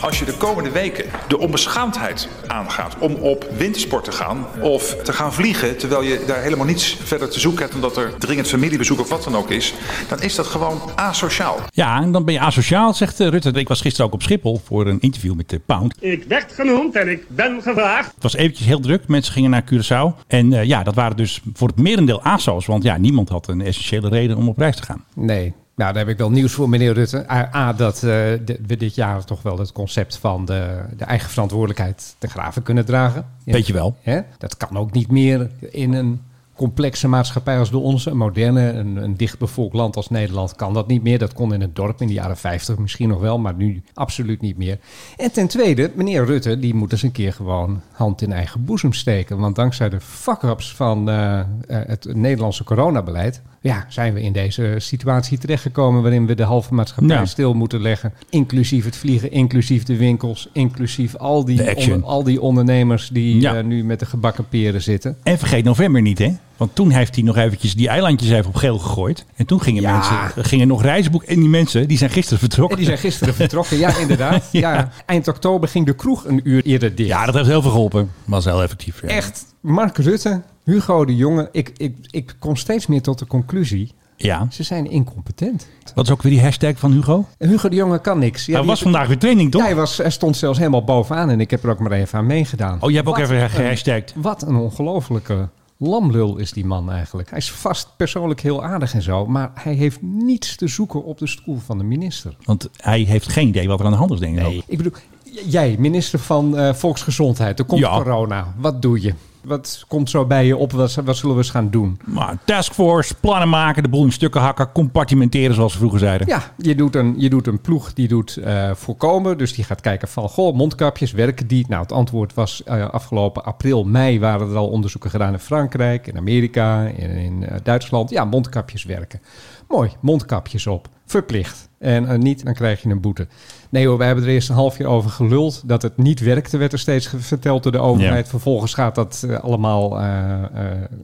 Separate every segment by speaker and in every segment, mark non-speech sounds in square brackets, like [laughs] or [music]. Speaker 1: Als je de komende weken de onbeschaamdheid aangaat om op wintersport te gaan of te gaan vliegen, terwijl je daar helemaal niets verder te zoeken hebt omdat er dringend familiebezoek of wat dan ook is, dan is dat gewoon asociaal.
Speaker 2: Ja, en dan ben je asociaal, zegt eh, Rutte. Ik was gisteren ook op Schiphol voor een interview met de Pound.
Speaker 3: Ik werd genoemd en ik ben gevraagd.
Speaker 2: Het was eventjes heel druk. Mensen gingen naar Curaçao. En eh, ja, dat waren dus voor het merendeel ASO's. Want ja, niemand had een essentiële reden om op reis te gaan.
Speaker 4: Nee. Nou, daar heb ik wel nieuws voor, meneer Rutte. A, A, dat eh, de- we dit jaar toch wel het concept van de, de eigen verantwoordelijkheid te graven kunnen dragen. Ja.
Speaker 2: Weet je wel.
Speaker 4: Hè? Dat kan ook niet meer in een complexe maatschappij als de onze. Een moderne, een, een dichtbevolkt land als Nederland kan dat niet meer. Dat kon in het dorp in de jaren 50 misschien nog wel, maar nu absoluut niet meer. En ten tweede, meneer Rutte, die moet eens een keer gewoon hand in eigen boezem steken. Want dankzij de fuck-ups van eh, eh, het Nederlandse coronabeleid... Ja, zijn we in deze situatie terechtgekomen waarin we de halve maatschappij
Speaker 2: Ja.
Speaker 4: stil moeten leggen. Inclusief het vliegen, inclusief de winkels, inclusief al die,
Speaker 2: De action.
Speaker 4: onder- al die ondernemers die
Speaker 2: Ja.
Speaker 4: eh, nu met de gebakken peren zitten.
Speaker 2: En vergeet november niet, hè? Want toen heeft hij nog eventjes die eilandjes even op geel gegooid. En toen gingen
Speaker 4: Ja.
Speaker 2: mensen gingen nog reisboek. En die mensen, die zijn gisteren vertrokken.
Speaker 4: En die zijn [laughs] gisteren vertrokken, ja inderdaad. ja. Eind oktober ging de kroeg een uur eerder dicht.
Speaker 2: Ja, dat heeft heel veel geholpen. Was heel effectief. ja.
Speaker 4: Echt, Mark Rutte, Hugo de Jonge, ik, ik, ik kom steeds meer tot de conclusie,
Speaker 2: Ja.
Speaker 4: ze zijn incompetent.
Speaker 2: Wat is ook weer die hashtag van Hugo?
Speaker 4: En Hugo de Jonge kan niks. Ja,
Speaker 2: Hij
Speaker 4: die-
Speaker 2: was vandaag weer training, toch?
Speaker 4: Ja, hij, was, hij stond zelfs helemaal bovenaan en ik heb er ook maar even aan meegedaan.
Speaker 2: Oh, je hebt ook
Speaker 4: Wat
Speaker 2: even
Speaker 4: een-
Speaker 2: gehashtagd.
Speaker 4: Wat een ongelofelijke lamlul is die man eigenlijk. Hij is vast persoonlijk heel aardig en zo, maar hij heeft niets te zoeken op de stoel van de minister.
Speaker 2: Want hij heeft geen idee wat er aan de hand is, denk ik. ook.
Speaker 4: Ik bedoel, j- jij, minister van eh, Volksgezondheid, er komt
Speaker 2: Ja.
Speaker 4: corona. Wat doe je? Wat komt zo bij je op? Wat, wat zullen we eens gaan doen?
Speaker 2: Maar taskforce, plannen maken, de boel in stukken hakken, compartimenteren zoals ze vroeger zeiden.
Speaker 4: Ja, je doet een, je doet een ploeg die doet eh, voorkomen. Dus die gaat kijken van, goh, mondkapjes, werken die? Nou, het antwoord was eh, afgelopen april, mei waren er al onderzoeken gedaan in Frankrijk, in Amerika, in, in eh, Duitsland. Ja, mondkapjes werken. Mooi, mondkapjes op. Verplicht. En eh, niet, dan krijg je een boete. Nee hoor, we hebben er eerst een half jaar over geluld dat het niet werkte, werd er steeds ge- verteld door de overheid. Vervolgens gaat dat eh, allemaal, eh, eh,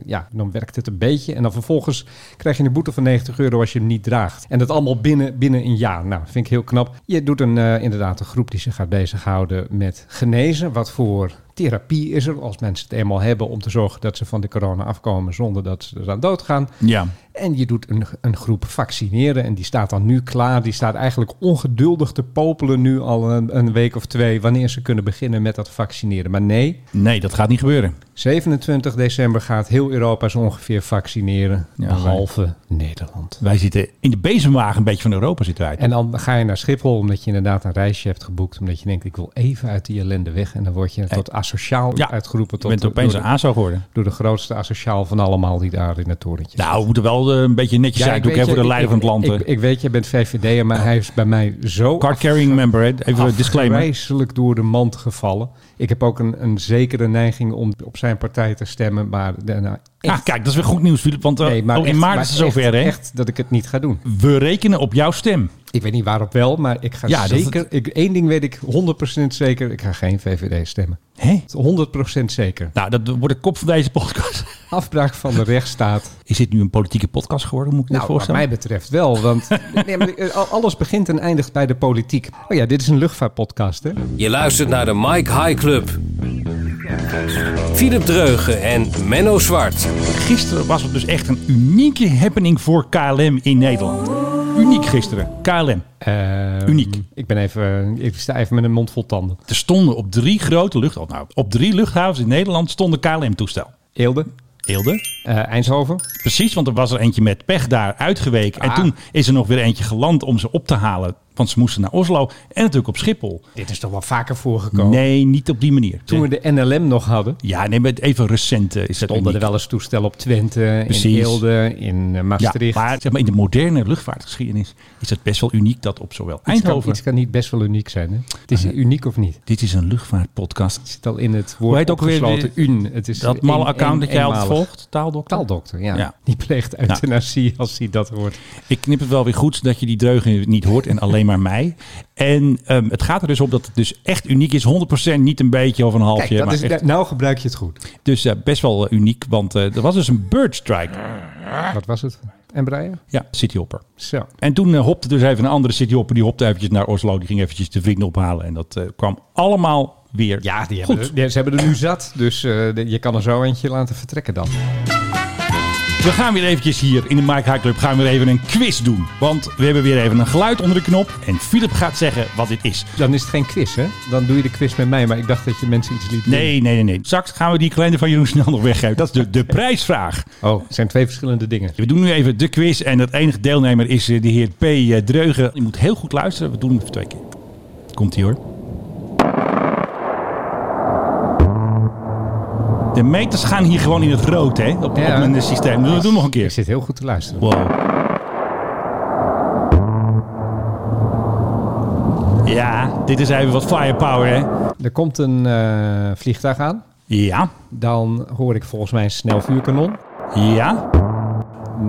Speaker 4: ja, dan werkt het een beetje. En dan vervolgens krijg je een boete van 90 euro als je hem niet draagt. En dat allemaal binnen, binnen een jaar. Nou, vind ik heel knap. Je doet een, eh, inderdaad een groep die zich gaat bezighouden met genezen. Wat voor therapie is er als mensen het eenmaal hebben om te zorgen dat ze van de corona afkomen zonder dat ze eraan doodgaan.
Speaker 2: Ja.
Speaker 4: En je doet een, een groep vaccineren en die staat dan nu klaar. Die staat eigenlijk ongeduldig te popelen nu al een, een week of twee wanneer ze kunnen beginnen met dat vaccineren. Maar nee,
Speaker 2: Nee, dat gaat niet gebeuren.
Speaker 4: 27 december gaat heel Europa zo ongeveer vaccineren,
Speaker 2: Ja,
Speaker 4: behalve Nederland.
Speaker 2: Wij zitten in de bezemwagen een beetje van Europa zitten wij.
Speaker 4: En dan ga je naar Schiphol omdat je inderdaad een reisje hebt geboekt. Omdat je denkt, ik wil even uit die ellende weg. En dan word je tot asociaal
Speaker 2: Ja,
Speaker 4: uitgeroepen.
Speaker 2: Je
Speaker 4: Tot
Speaker 2: bent
Speaker 4: de-
Speaker 2: opeens
Speaker 4: door,
Speaker 2: een
Speaker 4: de,
Speaker 2: ASO geworden.
Speaker 4: door de grootste asociaal van allemaal die daar in het torentje
Speaker 2: Nou, we moeten wel eh, een beetje netjes zijn. Doe ik
Speaker 4: weet
Speaker 2: even
Speaker 4: je,
Speaker 2: voor de leider van het land.
Speaker 4: Ik, ik,
Speaker 2: eh.
Speaker 4: ik weet, je bent VVD'er, maar hij is bij mij zo
Speaker 2: Card carrying member, hè. even een disclaimer.
Speaker 4: afgrijzelijk door de mand gevallen. Ik heb ook een, een zekere neiging om op zijn partij te stemmen, maar daarna
Speaker 2: Ah, kijk, dat is weer goed nieuws, Filip. Want eh,
Speaker 4: Nee, maar
Speaker 2: oh, in
Speaker 4: echt-
Speaker 2: maart
Speaker 4: maar
Speaker 2: is het zover, hè?
Speaker 4: echt, echt dat ik het niet ga doen.
Speaker 2: We rekenen op jouw stem.
Speaker 4: Ik weet niet waarop wel, maar ik ga
Speaker 2: Ja, dat
Speaker 4: zeker... ik, één ding weet ik 100% zeker, ik ga geen VVD stemmen.
Speaker 2: Hé?
Speaker 4: 100% zeker.
Speaker 2: Nou, dat wordt de kop van deze podcast. [laughs]
Speaker 4: Afbraak van de rechtsstaat.
Speaker 2: Is dit nu een politieke podcast geworden? Moet ik me
Speaker 4: Nou,
Speaker 2: dat
Speaker 4: wat
Speaker 2: voorstellen?
Speaker 4: mij betreft wel,
Speaker 2: [laughs]
Speaker 4: want nee, maar, eh, al- alles begint en eindigt bij de politiek. Oh ja, dit is een luchtvaartpodcast, hè?
Speaker 5: Je luistert naar de Mike High Club. Philip Dreugen en Menno Zwart.
Speaker 2: Gisteren was het dus echt een unieke happening voor KLM in Nederland. Uniek gisteren. KLM.
Speaker 4: Ehm,
Speaker 2: Uniek.
Speaker 4: Ik ben even, eh, ik sta even met een mond vol tanden.
Speaker 2: Er stonden op drie grote luchthavens. Nou, op drie luchthavens in Nederland stonden KLM-toestel.
Speaker 4: Eelde,
Speaker 2: Eelde.
Speaker 4: eh, Eindhoven.
Speaker 2: Precies, want er was er eentje met pech daar uitgeweken. En
Speaker 4: Ah.
Speaker 2: toen is er nog weer eentje geland om ze op te halen. Want ze moesten naar Oslo en natuurlijk op Schiphol.
Speaker 4: Dit is toch wel vaker voorgekomen.
Speaker 2: Nee, niet op die manier.
Speaker 4: Toen we de NLM nog hadden,
Speaker 2: Ja, nee, maar even recent eh, is dat
Speaker 4: stonden er
Speaker 2: uniek.
Speaker 4: wel eens toestellen op Twente, in
Speaker 2: Precies.
Speaker 4: Eelde, in eh,
Speaker 2: Ja,
Speaker 4: Maastricht.
Speaker 2: maar, zeg maar in de moderne luchtvaartgeschiedenis is dat best wel uniek dat op zowel
Speaker 4: Iets kan,
Speaker 2: Eindhoven... Ah,
Speaker 4: iets kan niet best wel uniek zijn. Hè? Het is uniek of niet.
Speaker 2: Dit is een luchtvaartpodcast.
Speaker 4: Het zit al in het
Speaker 2: Hoe
Speaker 4: woord
Speaker 2: heet ook weer
Speaker 4: opgesloten, un. Het is
Speaker 2: Dat
Speaker 4: een-
Speaker 2: malle
Speaker 4: een-
Speaker 2: account dat jij altijd
Speaker 4: eenmalig.
Speaker 2: volgt, taaldokter.
Speaker 4: Taaldokter, ja.
Speaker 2: Ja. Nou.
Speaker 4: Die pleegt euthanasie als hij dat hoort.
Speaker 2: Ik knip het wel weer goed, zodat je die dreugen niet hoort en alleen maar mij. En ehm, het gaat er dus om dat het dus echt uniek is. 100% niet een beetje of een halfje,
Speaker 4: Kijk, dat
Speaker 2: maar
Speaker 4: is,
Speaker 2: echt.
Speaker 4: nou gebruik je het goed.
Speaker 2: Dus eh, best wel eh, uniek, want eh, er was dus een bird strike.
Speaker 4: Wat was het? en breien.
Speaker 2: Ja, cityhopper.
Speaker 4: Zo.
Speaker 2: En toen eh, hopte dus even een andere cityhopper. Die hopte eventjes naar Oslo. Die ging eventjes de vrienden ophalen. En dat eh, kwam allemaal weer
Speaker 4: Ja, die hebben
Speaker 2: goed.
Speaker 4: er, die- ze hebben er nu zat. Dus eh, de- je kan er zo eentje laten vertrekken dan.
Speaker 2: We gaan weer eventjes hier in de Mike High Club gaan we weer even een quiz doen. Want we hebben weer even een geluid onder de knop. En Philip gaat zeggen wat dit is.
Speaker 4: Dan is het geen quiz, hè? Dan doe je de quiz met mij. Maar ik dacht dat je mensen iets liet doen.
Speaker 2: Nee, nee, nee, nee. Straks gaan we die kalender van Jeroen snel nog weggeven. Dat is de, de prijsvraag.
Speaker 4: Oh, het zijn twee verschillende dingen.
Speaker 2: We doen nu even de quiz. En het enige deelnemer is eh, de heer P. eh, Dreugen. Je moet heel goed luisteren. We doen het even twee keer. Komt ie hoor. De meters gaan hier gewoon in het rood, hè? Op,
Speaker 4: Ja.
Speaker 2: op mijn eh, systeem. We doen het nog een
Speaker 4: Ik
Speaker 2: keer.
Speaker 4: zit heel goed te luisteren.
Speaker 2: Wow. Ja, dit is even wat firepower, hè?
Speaker 4: Er komt een eh, vliegtuig aan.
Speaker 2: Ja,
Speaker 4: Dan hoor ik volgens mij een snel vuurkanon.
Speaker 2: ja,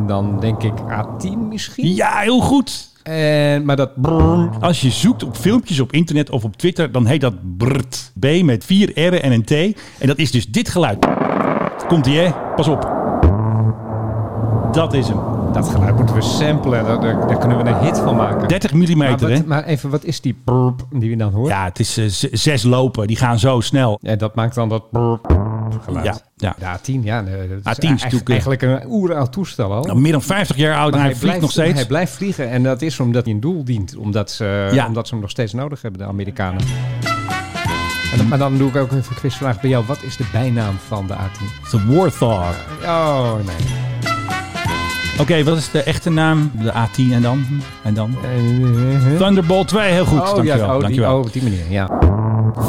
Speaker 4: Dan denk ik A10 misschien.
Speaker 2: ja, heel goed.
Speaker 4: En, maar dat brrr,
Speaker 2: Als je zoekt op filmpjes op internet of op Twitter, dan heet dat BRT. B met vier R'en en een T. En dat is dus dit geluid. Komt ie, hè? Pas op. Dat is hem.
Speaker 4: dat geluid moeten we samplen. Daar, daar, daar kunnen we een hit van maken.
Speaker 2: 30 mm,
Speaker 4: maar, wat-
Speaker 2: hè?
Speaker 4: maar even, wat is die brrp die we dan hoort?
Speaker 2: Ja, het is eh, z- zes lopen. Die gaan zo snel.
Speaker 4: Ja, dat maakt dan dat brrp geluid.
Speaker 2: Ja, ja.
Speaker 4: De A10, ja. nee, Dat is
Speaker 2: A10 is natuurlijk, eh,
Speaker 4: eigenlijk een oeroud toestel al.
Speaker 2: Nou, meer dan 50 jaar oud en hij vliegt nog steeds.
Speaker 4: Hij blijft vliegen en dat is omdat hij een doel dient. Omdat ze,
Speaker 2: Ja.
Speaker 4: omdat ze hem nog steeds nodig hebben, de Amerikanen. En dan- maar dan doe ik ook even een quizvraag bij jou. Wat is de bijnaam van de A10?
Speaker 2: De Warthog.
Speaker 4: Oh, nee.
Speaker 2: Oké, wat is de echte naam? De A10 en dan? En dan?
Speaker 4: Eh, eh,
Speaker 2: Thunderbolt 2, heel goed.
Speaker 4: oh,
Speaker 2: dankjewel.
Speaker 4: ja, oh, die,
Speaker 2: dankjewel.
Speaker 4: oh, op die manier, ja.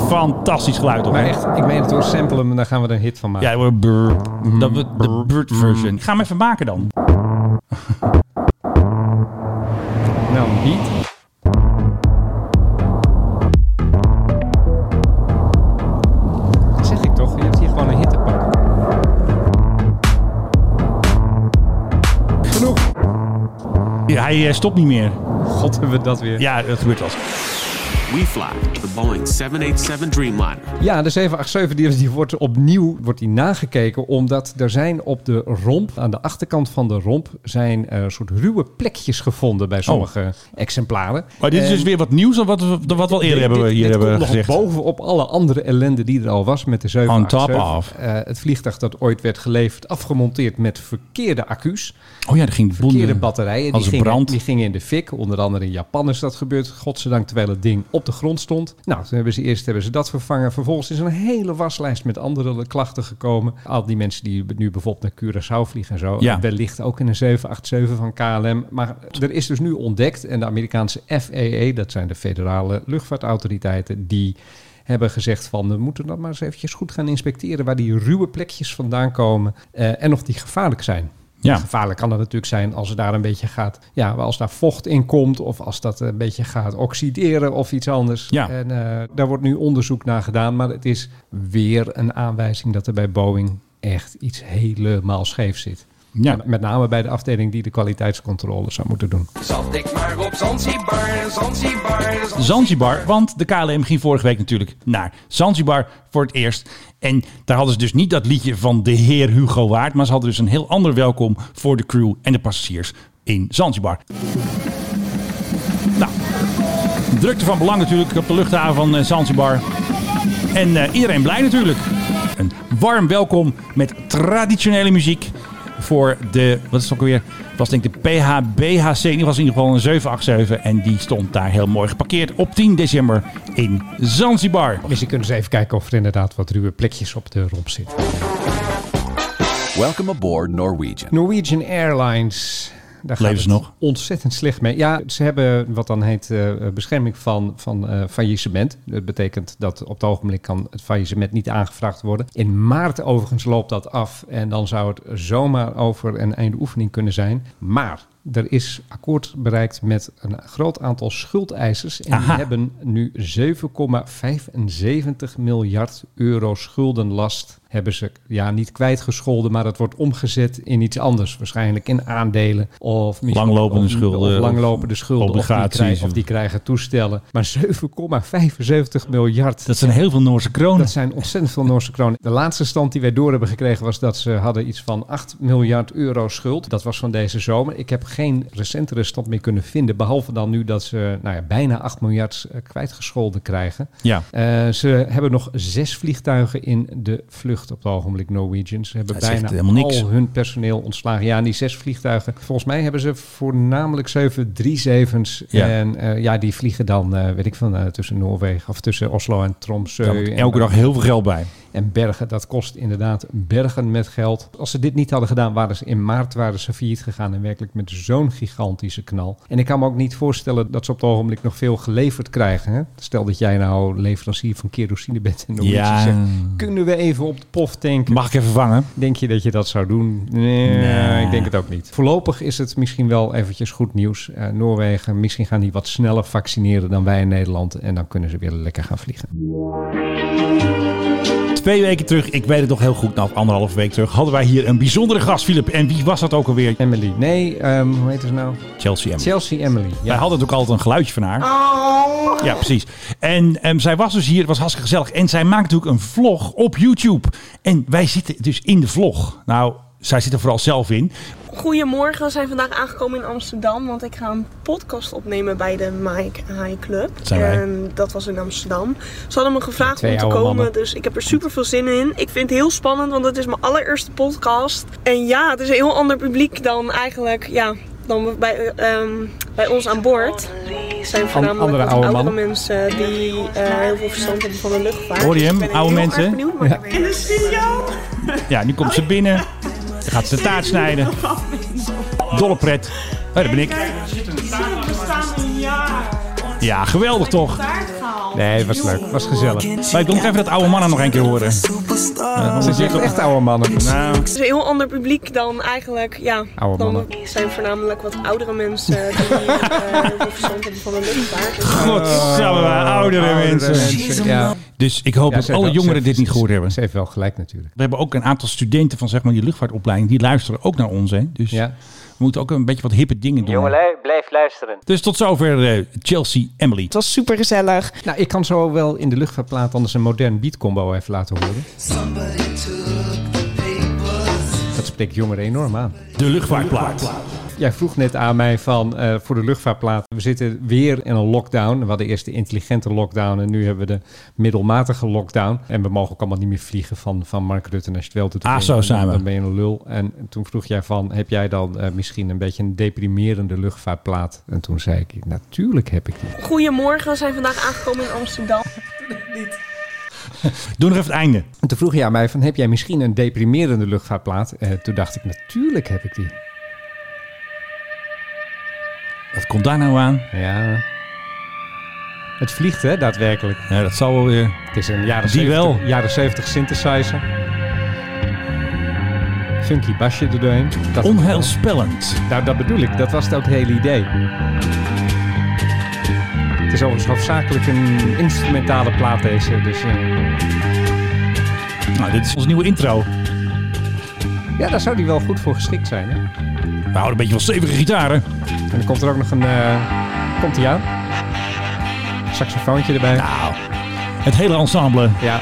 Speaker 2: Fantastisch geluid hoor.
Speaker 4: Maar echt, ik meen het hoor, sample hem en dan gaan we er een hit van maken.
Speaker 2: Ja, hoor, brrr.
Speaker 4: Mm,
Speaker 2: Dat we de bird version. Ik ga hem even maken dan.
Speaker 4: Nou, een beat. Dat zeg ik toch, je hebt hier gewoon een hit te pakken. Genoeg.
Speaker 2: Ja, hij eh, stopt niet meer.
Speaker 4: God, hebben we dat weer.
Speaker 2: Ja, dat gebeurt wel. eens.
Speaker 6: We fly the Boeing 787 Dreamliner.
Speaker 4: Ja, de 787 die, die wordt opnieuw wordt die nagekeken. Omdat er zijn op de romp, aan de achterkant van de romp, zijn eh, soort ruwe plekjes gevonden bij sommige exemplaren.
Speaker 2: Oh. Maar dit is
Speaker 4: En
Speaker 2: dus weer wat nieuws dan wat we, dan wat we al eerder
Speaker 4: dit-
Speaker 2: hebben we
Speaker 4: dit-
Speaker 2: hier
Speaker 4: dit
Speaker 2: hebben
Speaker 4: komt nog
Speaker 2: gezegd.
Speaker 4: bovenop alle andere ellende die er al was met de 787.
Speaker 2: On top of.
Speaker 4: Eh, het vliegtuig dat ooit werd geleverd, afgemonteerd met verkeerde accu's.
Speaker 2: Oh ja, er ging
Speaker 4: Verkeerde
Speaker 2: boende. Als
Speaker 4: batterijen. Die
Speaker 2: een
Speaker 4: gingen,
Speaker 2: brand.
Speaker 4: die gingen in de fik. Onder andere in Japan is dat gebeurd. Godzijdank terwijl het ding op de grond stond. Nou, toen hebben ze eerst hebben ze dat vervangen. Vervolgens is er een hele waslijst met andere klachten gekomen. Al die mensen die nu bijvoorbeeld naar Curaçao vliegen en zo.
Speaker 2: Ja.
Speaker 4: Wellicht ook in een 787 van KLM. Maar er is dus nu ontdekt. En de Amerikaanse FAA, dat zijn de federale luchtvaartautoriteiten, die hebben gezegd van we moeten dat maar eens eventjes goed gaan inspecteren waar die ruwe plekjes vandaan komen eh, en of die gevaarlijk zijn.
Speaker 2: Ja.
Speaker 4: Gevaarlijk kan dat natuurlijk zijn als het daar een beetje gaat. Ja, als daar vocht in komt of als dat een beetje gaat oxideren of iets anders.
Speaker 2: Ja.
Speaker 4: En eh, daar wordt nu onderzoek naar gedaan. Maar het is weer een aanwijzing dat er bij Boeing echt iets helemaal scheef zit.
Speaker 2: Ja.
Speaker 4: En Met name bij de afdeling die de kwaliteitscontrole zou moeten doen.
Speaker 7: Zat ik maar op Zanzibar, Zanzibar, Zanzibar.
Speaker 2: Zanzibar, want de KLM ging vorige week natuurlijk naar Zanzibar voor het eerst. En daar hadden ze dus niet dat liedje van de heer Hugo Waard, maar ze hadden dus een heel ander welkom voor de crew en de passagiers in Zanzibar. Nou, drukte van belang natuurlijk op de luchthaven van eh, Zanzibar. En eh, iedereen blij natuurlijk. Een warm welkom met traditionele muziek voor de, wat is het ook alweer? Het was denk ik de PHBHC, die was in ieder geval een 787 en die stond daar heel mooi geparkeerd op 10 december in Zanzibar.
Speaker 4: Dus je kunt eens even kijken of er inderdaad wat ruwe plekjes op de romp zitten.
Speaker 8: Welcome aboard Norwegian.
Speaker 4: Norwegian Airlines. Daar gaat
Speaker 2: Leven ze
Speaker 4: het
Speaker 2: nog?
Speaker 4: ontzettend slecht mee. Ja, ze hebben wat dan heet eh, bescherming van, van eh, faillissement. Dat betekent dat op het ogenblik kan het faillissement niet aangevraagd worden. In maart overigens loopt dat af en dan zou het zomaar over een einde oefening kunnen zijn. Maar er is akkoord bereikt met een groot aantal schuldeisers. En
Speaker 2: Aha.
Speaker 4: die hebben nu 7,75 miljard euro schuldenlast hebben ze ja, niet kwijtgescholden, maar dat wordt omgezet in iets anders. Waarschijnlijk in aandelen of misschien-
Speaker 2: Langlopende
Speaker 4: of-
Speaker 2: schulden
Speaker 4: Of
Speaker 2: of
Speaker 4: langlopende schulden. Of
Speaker 2: obligaties
Speaker 4: die, krijgen,
Speaker 2: of-
Speaker 4: of die krijgen toestellen. Maar 7,75 miljard.
Speaker 2: Dat zijn heel veel Noorse kronen.
Speaker 4: Dat zijn ontzettend veel Noorse kronen. De laatste stand die wij door hebben gekregen was dat ze hadden iets van 8 miljard euro schuld. Dat was van deze zomer. Ik heb geen recentere stand meer kunnen vinden. Behalve dan nu dat ze nou ja, bijna 8 miljard eh, kwijtgescholden krijgen.
Speaker 2: Ja.
Speaker 4: Eh, ze hebben nog zes vliegtuigen in de vlucht op het ogenblik, Norwegian. Ze hebben
Speaker 2: Dat zegt
Speaker 4: bijna
Speaker 2: helemaal niks.
Speaker 4: al hun personeel ontslagen. Ja, en die zes vliegtuigen, volgens mij hebben ze voornamelijk 737's.
Speaker 2: Ja.
Speaker 4: En eh, ja, die vliegen dan, eh, weet ik van, tussen Noorwegen of tussen Oslo en Tromsø.
Speaker 2: Daar moet
Speaker 4: En-
Speaker 2: elke dag heel veel geld bij.
Speaker 4: en bergen, dat kost inderdaad bergen met geld. Als ze dit niet hadden gedaan, waren ze in maart waren ze failliet gegaan. En werkelijk met zo'n gigantische knal. En ik kan me ook niet voorstellen dat ze op het ogenblik nog veel geleverd krijgen. Hè? Stel dat jij nou leverancier van kerosine bent en Norwegian
Speaker 2: Ja.
Speaker 4: zegt... Kunnen we even op de pof tanken?
Speaker 2: Mag ik even vangen?
Speaker 4: Denk je dat je dat zou doen? Nee,
Speaker 2: Nee.
Speaker 4: ik denk het ook niet. Voorlopig is het misschien wel eventjes goed nieuws. Eh, Noorwegen, misschien gaan die wat sneller vaccineren dan wij in Nederland. En dan kunnen ze weer lekker gaan vliegen.
Speaker 2: Twee weken terug, ik weet het nog heel goed, nou anderhalf week terug, hadden wij hier een bijzondere gast, Philip. En wie was dat ook alweer?
Speaker 4: Emily. Nee, ehm, hoe heet ze nou?
Speaker 2: Chelsea Emily.
Speaker 4: Chelsea Emily.
Speaker 2: Wij hadden natuurlijk altijd een geluidje van haar. Ja, precies. En ehm, zij was dus hier, het was hartstikke gezellig. En zij maakt natuurlijk een vlog op YouTube. En wij zitten dus in de vlog. Nou, zij zit er vooral zelf in.
Speaker 8: Goedemorgen, we zijn vandaag aangekomen in Amsterdam, want ik ga een podcast opnemen bij de Mike High Club.
Speaker 2: zijn wij.
Speaker 8: En dat was in Amsterdam. Ze hadden me gevraagd
Speaker 4: Twee
Speaker 8: om te
Speaker 4: oude
Speaker 8: komen,
Speaker 4: mannen.
Speaker 8: dus ik heb er super veel zin in. Ik vind het heel spannend, want het is mijn allereerste podcast. En ja, het is een heel ander publiek dan eigenlijk, ja, dan bij, ehm, bij ons aan boord. Het zijn voornamelijk
Speaker 4: andere
Speaker 8: wat
Speaker 4: oude
Speaker 8: oudere
Speaker 4: mannen.
Speaker 8: mensen die eh, heel veel verstand hebben van de luchtvaart.
Speaker 2: Hoor je
Speaker 8: Dus
Speaker 2: hem?
Speaker 8: ik ben heel
Speaker 2: Oude
Speaker 8: erg
Speaker 2: mensen?
Speaker 8: benieuwd, maar ik ben
Speaker 2: Oh,
Speaker 8: heel
Speaker 2: Ja, nu komt ze binnen. Dan gaat ze de taart snijden. Dolle pret. Oh, daar ben ik. Ja, geweldig toch?
Speaker 4: Nee, was leuk. Was gezellig.
Speaker 2: Maar ik wil nog even dat oude mannen nog een keer horen.
Speaker 4: Ze zegt echt oude mannen.
Speaker 2: Nou,
Speaker 8: Het is een heel ander publiek dan eigenlijk, ja,
Speaker 4: Oude
Speaker 8: dan
Speaker 4: mannen.
Speaker 8: het zijn voornamelijk wat oudere mensen die [laughs] eh, heel veel verstand hebben van de luchtvaart. Dus
Speaker 2: god, Oh, oudere mensen.
Speaker 4: Ja.
Speaker 2: Dus ik hoop
Speaker 4: Ja,
Speaker 2: dat
Speaker 4: ze heeft
Speaker 2: alle
Speaker 4: wel-
Speaker 2: jongeren
Speaker 4: ze-
Speaker 2: dit niet gehoord hebben.
Speaker 4: Ze heeft wel gelijk natuurlijk.
Speaker 2: We hebben ook een aantal studenten van zeg maar, die luchtvaartopleiding. Die luisteren ook naar ons. Hè? Dus
Speaker 4: Ja.
Speaker 2: we moeten ook een beetje wat hippe dingen doen.
Speaker 9: Jongelui, blijf luisteren.
Speaker 2: Dus tot zover eh, Chelsea Emily.
Speaker 10: Het was super gezellig.
Speaker 4: Nou, ik kan zo wel in de luchtvaartplaat anders een modern beatcombo even laten horen. Dat spreekt jongeren enorm aan.
Speaker 2: De luchtvaartplaat.
Speaker 4: Jij vroeg net aan mij van eh, voor de luchtvaartplaat. We zitten weer in een lockdown. We hadden eerst de intelligente lockdown en nu hebben we de middelmatige lockdown. En we mogen ook allemaal niet meer vliegen van, van Mark Rutte. En als je het wel doet, dan
Speaker 2: Ah,
Speaker 4: ben je-
Speaker 2: zo zijn we.
Speaker 4: dan ben je een lul. En toen vroeg jij van, heb jij dan eh, misschien een beetje een deprimerende luchtvaartplaat? En toen zei ik, natuurlijk heb ik die.
Speaker 8: Goedemorgen, we zijn vandaag aangekomen in Amsterdam.
Speaker 2: Doe nog even het einde.
Speaker 4: En toen vroeg hij aan mij van, heb jij misschien een deprimerende luchtvaartplaat? Eh, toen dacht ik, natuurlijk heb ik die.
Speaker 2: Wat komt daar nou aan?
Speaker 4: Ja. Het vliegt hè, daadwerkelijk.
Speaker 2: Ja, dat zal wel weer.
Speaker 4: Het is een jaren
Speaker 2: Die
Speaker 4: 70,
Speaker 2: wel.
Speaker 4: jaren 70 synthesizer. Funky basje er doorheen. Dat
Speaker 2: Onheilspellend.
Speaker 4: Nou, dat bedoel ik. Dat was het ook het hele idee. Het is overigens hoofdzakelijk een instrumentale plaat deze. Dus, eh,
Speaker 2: Nou, dit is onze nieuwe intro.
Speaker 4: ja, daar zou die wel goed voor geschikt zijn. Hè?
Speaker 2: We houden een beetje van stevige gitaren.
Speaker 4: En dan komt er ook nog een... eh, komt die aan. Saxofoontje erbij.
Speaker 2: Nou, het hele ensemble.
Speaker 4: Ja.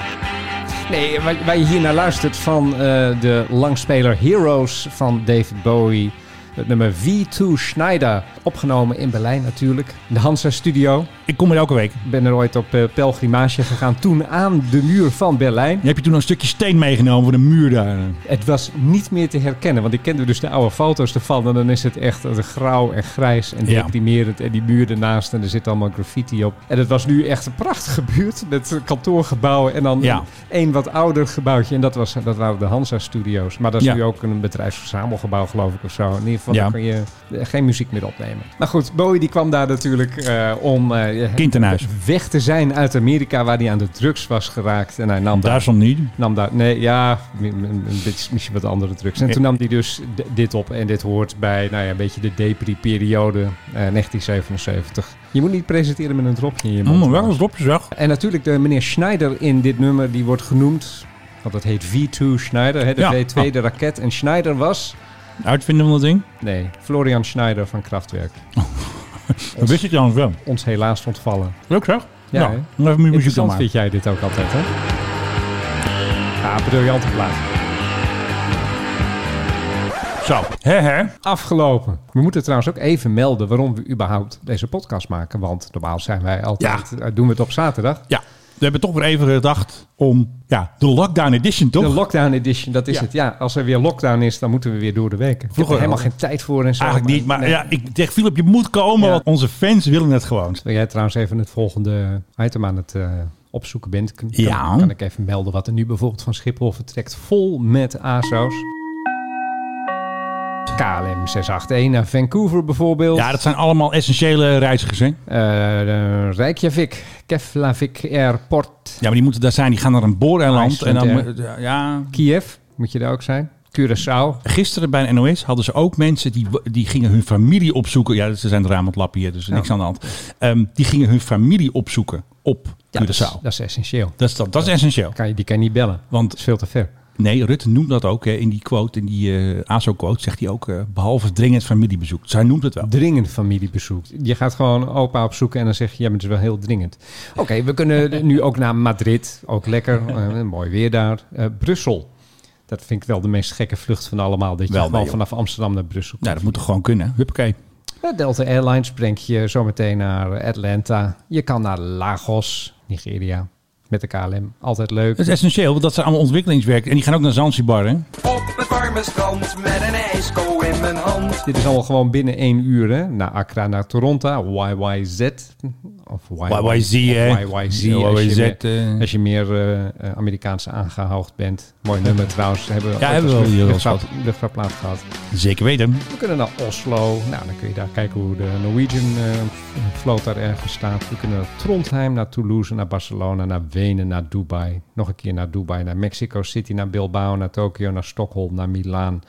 Speaker 4: Nee, waar, waar je hier naar luistert van eh, de langspeler Heroes van David Bowie. Het nummer V2 Schneider. Opgenomen in Berlijn natuurlijk. De Hansa Studio.
Speaker 2: Ik kom er elke week.
Speaker 4: Ik ben er ooit op eh, pelgrimage gegaan. Toen aan de muur van Berlijn.
Speaker 2: Je hebt je toen een stukje steen meegenomen voor de muur daar. eh,
Speaker 4: Het was niet meer te herkennen. Want ik kende dus de oude foto's ervan. En dan is het echt eh, grauw en grijs en
Speaker 2: Ja.
Speaker 4: deprimerend. En die muur ernaast. En er zit allemaal graffiti op. En het was nu echt een prachtige buurt. Met eh, kantoorgebouwen. En dan
Speaker 2: Ja.
Speaker 4: één wat ouder gebouwtje. En dat, was, dat waren de Hansa Studios. Maar dat is
Speaker 2: Ja.
Speaker 4: nu ook een bedrijfsverzamelgebouw geloof ik of zo. In ieder geval
Speaker 2: Ja.
Speaker 4: daar kun je eh, geen muziek meer opnemen. Maar goed, Bowie die kwam daar natuurlijk eh, om eh,
Speaker 2: Kind in huis.
Speaker 4: weg te zijn uit Amerika. Waar hij aan de drugs was geraakt. En hij nam daar
Speaker 2: Daar stond niet.
Speaker 4: nam daar, nee, ja, m- m- m- dit is misschien wat andere drugs. En toen nam hij dus d- dit op en dit hoort bij, nou ja, een beetje de depri-periode eh, 1977. Je moet niet presenteren met een dropje in je mond.
Speaker 2: Mm, wel Oh, eens dropjes weg.
Speaker 4: En natuurlijk de meneer Schneider in dit nummer, die wordt genoemd. Want dat heet V2 Schneider, hè, de
Speaker 2: Ja.
Speaker 4: V2, de raket. En Schneider was...
Speaker 2: Uitvinden van dat ding?
Speaker 4: Nee, Florian Schneider van Kraftwerk.
Speaker 2: Dat wist ik trouwens wel.
Speaker 4: Ons helaas ontvallen.
Speaker 2: Leuk zeg.
Speaker 4: Ja,
Speaker 2: nou,
Speaker 4: hè?
Speaker 2: dan even meer muziek dan
Speaker 4: Interessant
Speaker 2: maar.
Speaker 4: vind jij dit ook altijd, hè? Ja, briljante plaat.
Speaker 2: Zo. Hè, hè.
Speaker 4: Afgelopen. We moeten trouwens ook even melden waarom we überhaupt deze podcast maken. Want normaal zijn wij altijd, eh, doen we het op zaterdag.
Speaker 2: Ja. We hebben toch weer even gedacht om ja, de Lockdown Edition, toch?
Speaker 4: De lockdown edition, dat is
Speaker 2: Ja.
Speaker 4: het. Ja, als er weer lockdown is, dan moeten we weer door de week. Vroeger
Speaker 2: Vroeger
Speaker 4: helemaal
Speaker 2: wel.
Speaker 4: geen tijd voor en zo.
Speaker 2: Eigenlijk niet, maar
Speaker 4: nee.
Speaker 2: ja, ik zeg Philip, je moet komen,
Speaker 4: Ja.
Speaker 2: want onze fans willen het gewoon.
Speaker 4: Terwijl jij trouwens even het volgende item aan het eh, opzoeken bent, kan,
Speaker 2: Ja.
Speaker 4: kan ik even melden wat er nu bijvoorbeeld van Schiphol vertrekt. Vol met ASO's. KLM 681 naar Vancouver bijvoorbeeld.
Speaker 2: Ja, dat zijn allemaal essentiële reizigers, hè? Ja,
Speaker 4: Eh, eh, Reykjavik, Keflavik Airport,
Speaker 2: maar die moeten daar zijn. Die gaan naar een booreiland. En
Speaker 4: IJsland,
Speaker 2: dan,
Speaker 4: ja.
Speaker 2: moet- ja, ja.
Speaker 4: Kiev, moet je daar ook zijn. Curaçao.
Speaker 2: Gisteren bij een NOS hadden ze ook mensen die, die gingen hun familie opzoeken. Ja, ze zijn het raam aan het lappen hier, dus niks aan de hand. Ehm, die gingen hun familie opzoeken op
Speaker 4: Ja,
Speaker 2: Curaçao.
Speaker 4: dus- dat, is, dat is essentieel.
Speaker 2: Dat is, dat, dat is essentieel.
Speaker 4: Kan je, die kan je niet bellen.
Speaker 2: Want-
Speaker 4: dat is veel te ver.
Speaker 2: Nee, Rutte noemt dat ook hè, in die quote, in die eh ASO-quote, zegt hij ook, eh, behalve dringend familiebezoek. Dus hij noemt het wel.
Speaker 4: dringend familiebezoek. Je gaat gewoon opa opzoeken en dan zeg je, ja, maar het is wel heel dringend. Oké, we kunnen [laughs] nu ook naar Madrid. Ook lekker,
Speaker 2: [laughs]
Speaker 4: eh, mooi weer daar. Eh, Brussel. Dat vind ik wel de meest gekke vlucht van allemaal. Dat je
Speaker 2: Wel, nee,
Speaker 4: gewoon
Speaker 2: joh.
Speaker 4: vanaf Amsterdam naar Brussel
Speaker 2: Nou, dat moet toch gewoon kunnen. Huppakee.
Speaker 4: komt. Eh, Delta Airlines brengt je zometeen naar Atlanta. Je kan naar Lagos, Nigeria, met de KLM. Altijd leuk.
Speaker 2: Dat is essentieel, want dat zijn allemaal ontwikkelingswerk. En die gaan ook naar Zanzibar, hè?
Speaker 7: Op het warme strand met een ijsko in mijn hand.
Speaker 4: Dit is allemaal gewoon binnen één uur, hè? Naar Accra, naar Toronto, YYZ. Of
Speaker 2: YYZ,
Speaker 4: of
Speaker 2: hè?
Speaker 4: YYZ.
Speaker 2: Ja,
Speaker 4: Als je
Speaker 2: YYZ,
Speaker 4: meer,
Speaker 2: eh.
Speaker 4: als je meer eh, eh, Amerikaanse aangehoogd bent. Mooi nummer trouwens. Hebben we
Speaker 2: Ja,
Speaker 4: ooit
Speaker 2: hebben we
Speaker 4: als
Speaker 2: wel hier wel eens
Speaker 4: luchtvaart, luchtvaartplaat gehad.
Speaker 2: Zeker weten.
Speaker 4: We kunnen naar Oslo. Nou, dan kun je daar kijken hoe de Norwegian eh vloot daar ergens staat. We kunnen naar Trondheim, naar Toulouse, naar Barcelona, naar Wenen, naar Dubai. Nog een keer naar Dubai, naar Mexico City, naar Bilbao, naar Tokio, naar Stockholm, naar Milaan,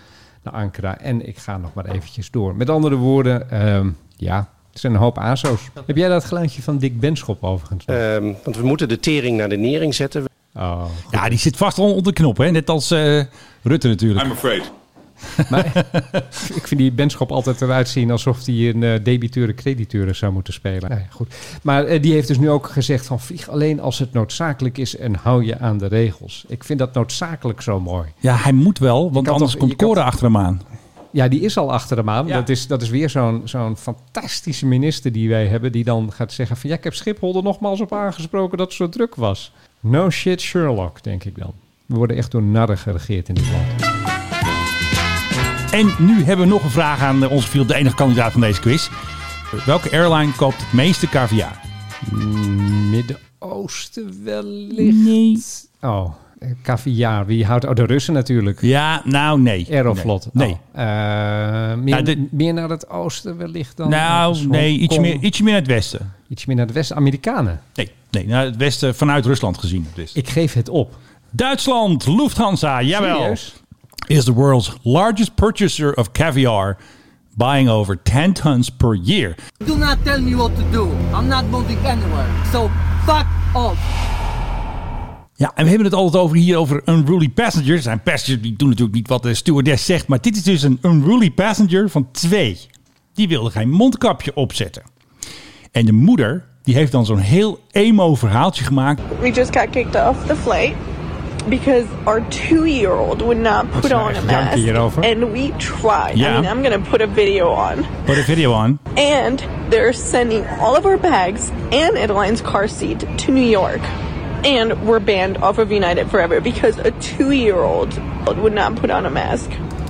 Speaker 4: naar Ankara. En ik ga nog maar eventjes door. Met andere woorden, ehm, ja, het zijn een hoop ASO's. Heb jij dat geluidje van Dick Benschop overigens? nog?
Speaker 9: Ehm, want we moeten de tering naar de nering zetten.
Speaker 4: Oh.
Speaker 2: Ja, die zit vast al onder de knop, hè? Net als eh, Rutte natuurlijk.
Speaker 1: I'm afraid.
Speaker 4: Ik vind die Benschop altijd eruit zien alsof hij een eh debiteur-crediteur zou moeten spelen. Nou ja, goed. Maar eh, die heeft dus nu ook gezegd van vlieg alleen als het noodzakelijk is en hou je aan de regels. Ik vind dat noodzakelijk zo mooi.
Speaker 2: Ja, hij moet wel, want
Speaker 4: kan
Speaker 2: anders
Speaker 4: toch-
Speaker 2: komt
Speaker 4: je kan-
Speaker 2: Cora achter hem aan.
Speaker 4: Ja, die is al achter hem aan.
Speaker 2: Ja.
Speaker 4: Dat, is, dat is weer zo'n zo'n fantastische minister die wij hebben die dan gaat zeggen van ja, ik heb Schiphol er nogmaals op aangesproken dat het zo druk was. No shit Sherlock, denk ik dan. We worden echt door narren geregeerd in dit land.
Speaker 2: En nu hebben we nog een vraag aan eh, onze field, de enige kandidaat van deze quiz. Welke airline koopt het meeste caviar?
Speaker 4: Midden-Oosten wellicht. Oh, eh, caviar. Wie houdt... Oh, de Russen natuurlijk.
Speaker 2: Ja, nou nee.
Speaker 4: Aeroflot.
Speaker 2: Nee.
Speaker 4: Oh. Eh, meer,
Speaker 2: Ja, dit-
Speaker 4: meer naar het oosten wellicht dan?
Speaker 2: Nou,
Speaker 4: Dus
Speaker 2: nee, iets
Speaker 4: Hongkong,
Speaker 2: meer, ietsje meer naar het westen.
Speaker 4: iets meer naar het westen. Amerikanen.
Speaker 2: Nee, nee, naar het westen vanuit Rusland gezien. Dus.
Speaker 4: Ik geef het op.
Speaker 2: Duitsland, Lufthansa, jawel.
Speaker 4: Serieus?
Speaker 2: Is the world's largest purchaser of caviar, buying over 10 tons per year.
Speaker 10: Do not tell me what to do. I'm not moving anywhere. So fuck off.
Speaker 2: Ja, en we hebben het altijd over hier over unruly passengers. Er zijn passengers die doen natuurlijk niet wat de stewardess zegt. Maar dit is dus een unruly passenger van twee. Die wilde geen mondkapje opzetten. En de moeder, die heeft dan zo'n heel emo verhaaltje gemaakt.
Speaker 11: We just got kicked off the flight because our two year old would not
Speaker 4: Wat
Speaker 11: put
Speaker 4: is nou
Speaker 11: on a
Speaker 4: echt janky
Speaker 11: mask.
Speaker 4: hierover?
Speaker 11: And we tried.
Speaker 2: Yeah.
Speaker 11: I mean, I'm going to put a video on.
Speaker 2: Put a video on.
Speaker 11: And they're sending all of our bags and Adeline's car seat to New York. And we're banned off of United forever because a two year old would not put on a mask.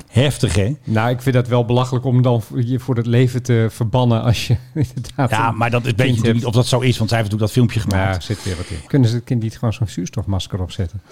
Speaker 2: Heftig, hè?
Speaker 4: Nou, ik vind dat wel belachelijk om dan voor- je voor het leven te verbannen als je [laughs] inderdaad...
Speaker 2: Ja,
Speaker 4: een
Speaker 2: maar dat is- weet je
Speaker 4: kind
Speaker 2: natuurlijk niet
Speaker 4: hebt.
Speaker 2: of dat zo is, want zij heeft natuurlijk dat filmpje
Speaker 4: Ja,
Speaker 2: gemaakt.
Speaker 4: er zit weer wat in. Kunnen ze het kind niet gewoon zo'n zuurstofmasker opzetten?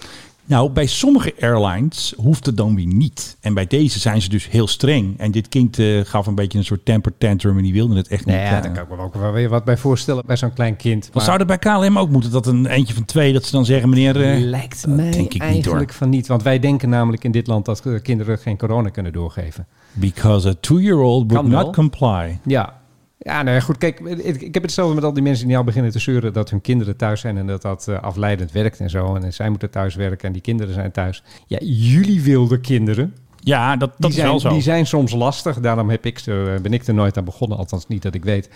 Speaker 2: Nou, bij sommige airlines hoeft het dan weer niet. En bij deze zijn ze dus heel streng. En dit kind eh, gaf een beetje een soort temper tantrum en die wilde het echt niet.
Speaker 4: Nou
Speaker 2: Ja.
Speaker 4: daar kan ik me ook wel weer wat bij voorstellen bij zo'n klein kind.
Speaker 2: Wat zou er bij KLM ook moeten? Dat een eentje van twee, dat ze dan zeggen, meneer... eh,
Speaker 4: Lijkt
Speaker 2: dat
Speaker 4: mij
Speaker 2: denk ik niet, hoor.
Speaker 4: eigenlijk van niet. Want wij denken namelijk in dit land dat eh, kinderen geen corona kunnen doorgeven.
Speaker 2: Because a two-year-old would
Speaker 4: Kan wel.
Speaker 2: not comply.
Speaker 4: Ja. Ja, nou ja, goed. Kijk, ik, ik heb hetzelfde met al die mensen die al beginnen te zeuren dat hun kinderen thuis zijn en dat dat eh, afleidend werkt en zo. En zij moeten thuis werken en die kinderen zijn thuis. Ja, jullie wilde kinderen.
Speaker 2: Ja, dat, dat
Speaker 4: die
Speaker 2: is
Speaker 4: zijn,
Speaker 2: wel zo.
Speaker 4: Die zijn soms lastig. Daarom heb ik er, ben ik er nooit aan begonnen. Althans, niet dat ik
Speaker 2: [laughs]
Speaker 4: weet.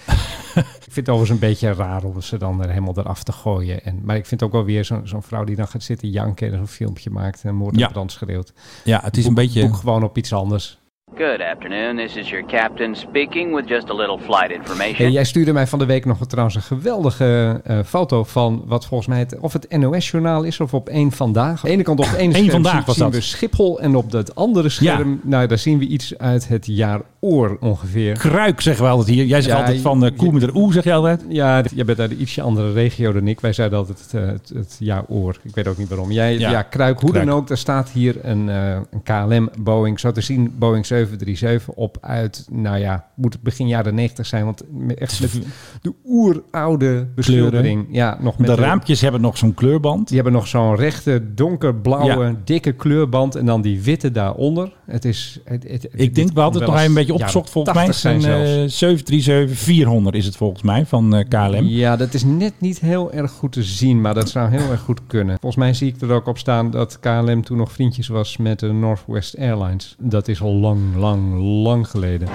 Speaker 4: ik vind het overigens een beetje raar om ze dan er helemaal eraf te gooien. En, maar ik vind ook wel weer zo'n zo'n vrouw die dan gaat zitten janken en zo'n filmpje maakt en moord en
Speaker 2: Ja.
Speaker 4: brand schreeuwt.
Speaker 2: Ja, het is een
Speaker 4: Boek-
Speaker 2: beetje-
Speaker 4: Boek gewoon op iets anders.
Speaker 12: Good afternoon. This is your captain speaking with just a little flight information.
Speaker 4: Hey, jij stuurde mij van de week nog een- trouwens een geweldige eh, foto van wat volgens mij het, of het NOS-journaal is of op één vandaag. Aan de ene kant op het ene
Speaker 2: Eén
Speaker 4: scherm
Speaker 2: Vandaag
Speaker 4: zien,
Speaker 2: was
Speaker 4: zien
Speaker 2: dat.
Speaker 4: we Schiphol en op het andere scherm, nou daar zien we iets uit het jaar oor ongeveer.
Speaker 2: Kruik zeggen we altijd hier. Jij zegt
Speaker 4: Ja,
Speaker 2: altijd van eh koe met een oe, zeg jij altijd.
Speaker 4: Ja, d- jij bent uit een ietsje andere regio dan ik. Wij zeiden altijd het, eh, het, het ja oor. Ik weet ook niet waarom. Jij, ja,
Speaker 2: Ja.
Speaker 4: kruik. Hoe
Speaker 2: Kruik.
Speaker 4: dan ook, er staat hier een, eh, een KLM Boeing. Zo te zien Boeing 737 op uit, nou ja, moet het begin jaren 90 zijn. Want me- echt met de oeroude beschildering. Ja, nog met
Speaker 2: de raampjes hebben nog zo'n kleurband.
Speaker 4: Die hebben nog zo'n rechte, donkerblauwe,
Speaker 2: Ja.
Speaker 4: dikke kleurband. En dan die witte daaronder. Het is, het, het- het-
Speaker 2: Ik denk
Speaker 4: dit
Speaker 2: wel dat
Speaker 4: moet
Speaker 2: het nog een
Speaker 4: eens
Speaker 2: beetje opgezocht
Speaker 4: jaren
Speaker 2: volgens mij. eh,
Speaker 4: 80 zijn
Speaker 2: Een
Speaker 4: zelfs.
Speaker 2: eh 737-400 is het volgens mij van eh, KLM.
Speaker 4: Ja, dat is net niet heel erg goed te zien, maar dat zou heel erg goed kunnen. Volgens mij zie ik er ook op staan dat KLM toen nog vriendjes was met de Northwest Airlines. Dat is al lang, lang, lang geleden.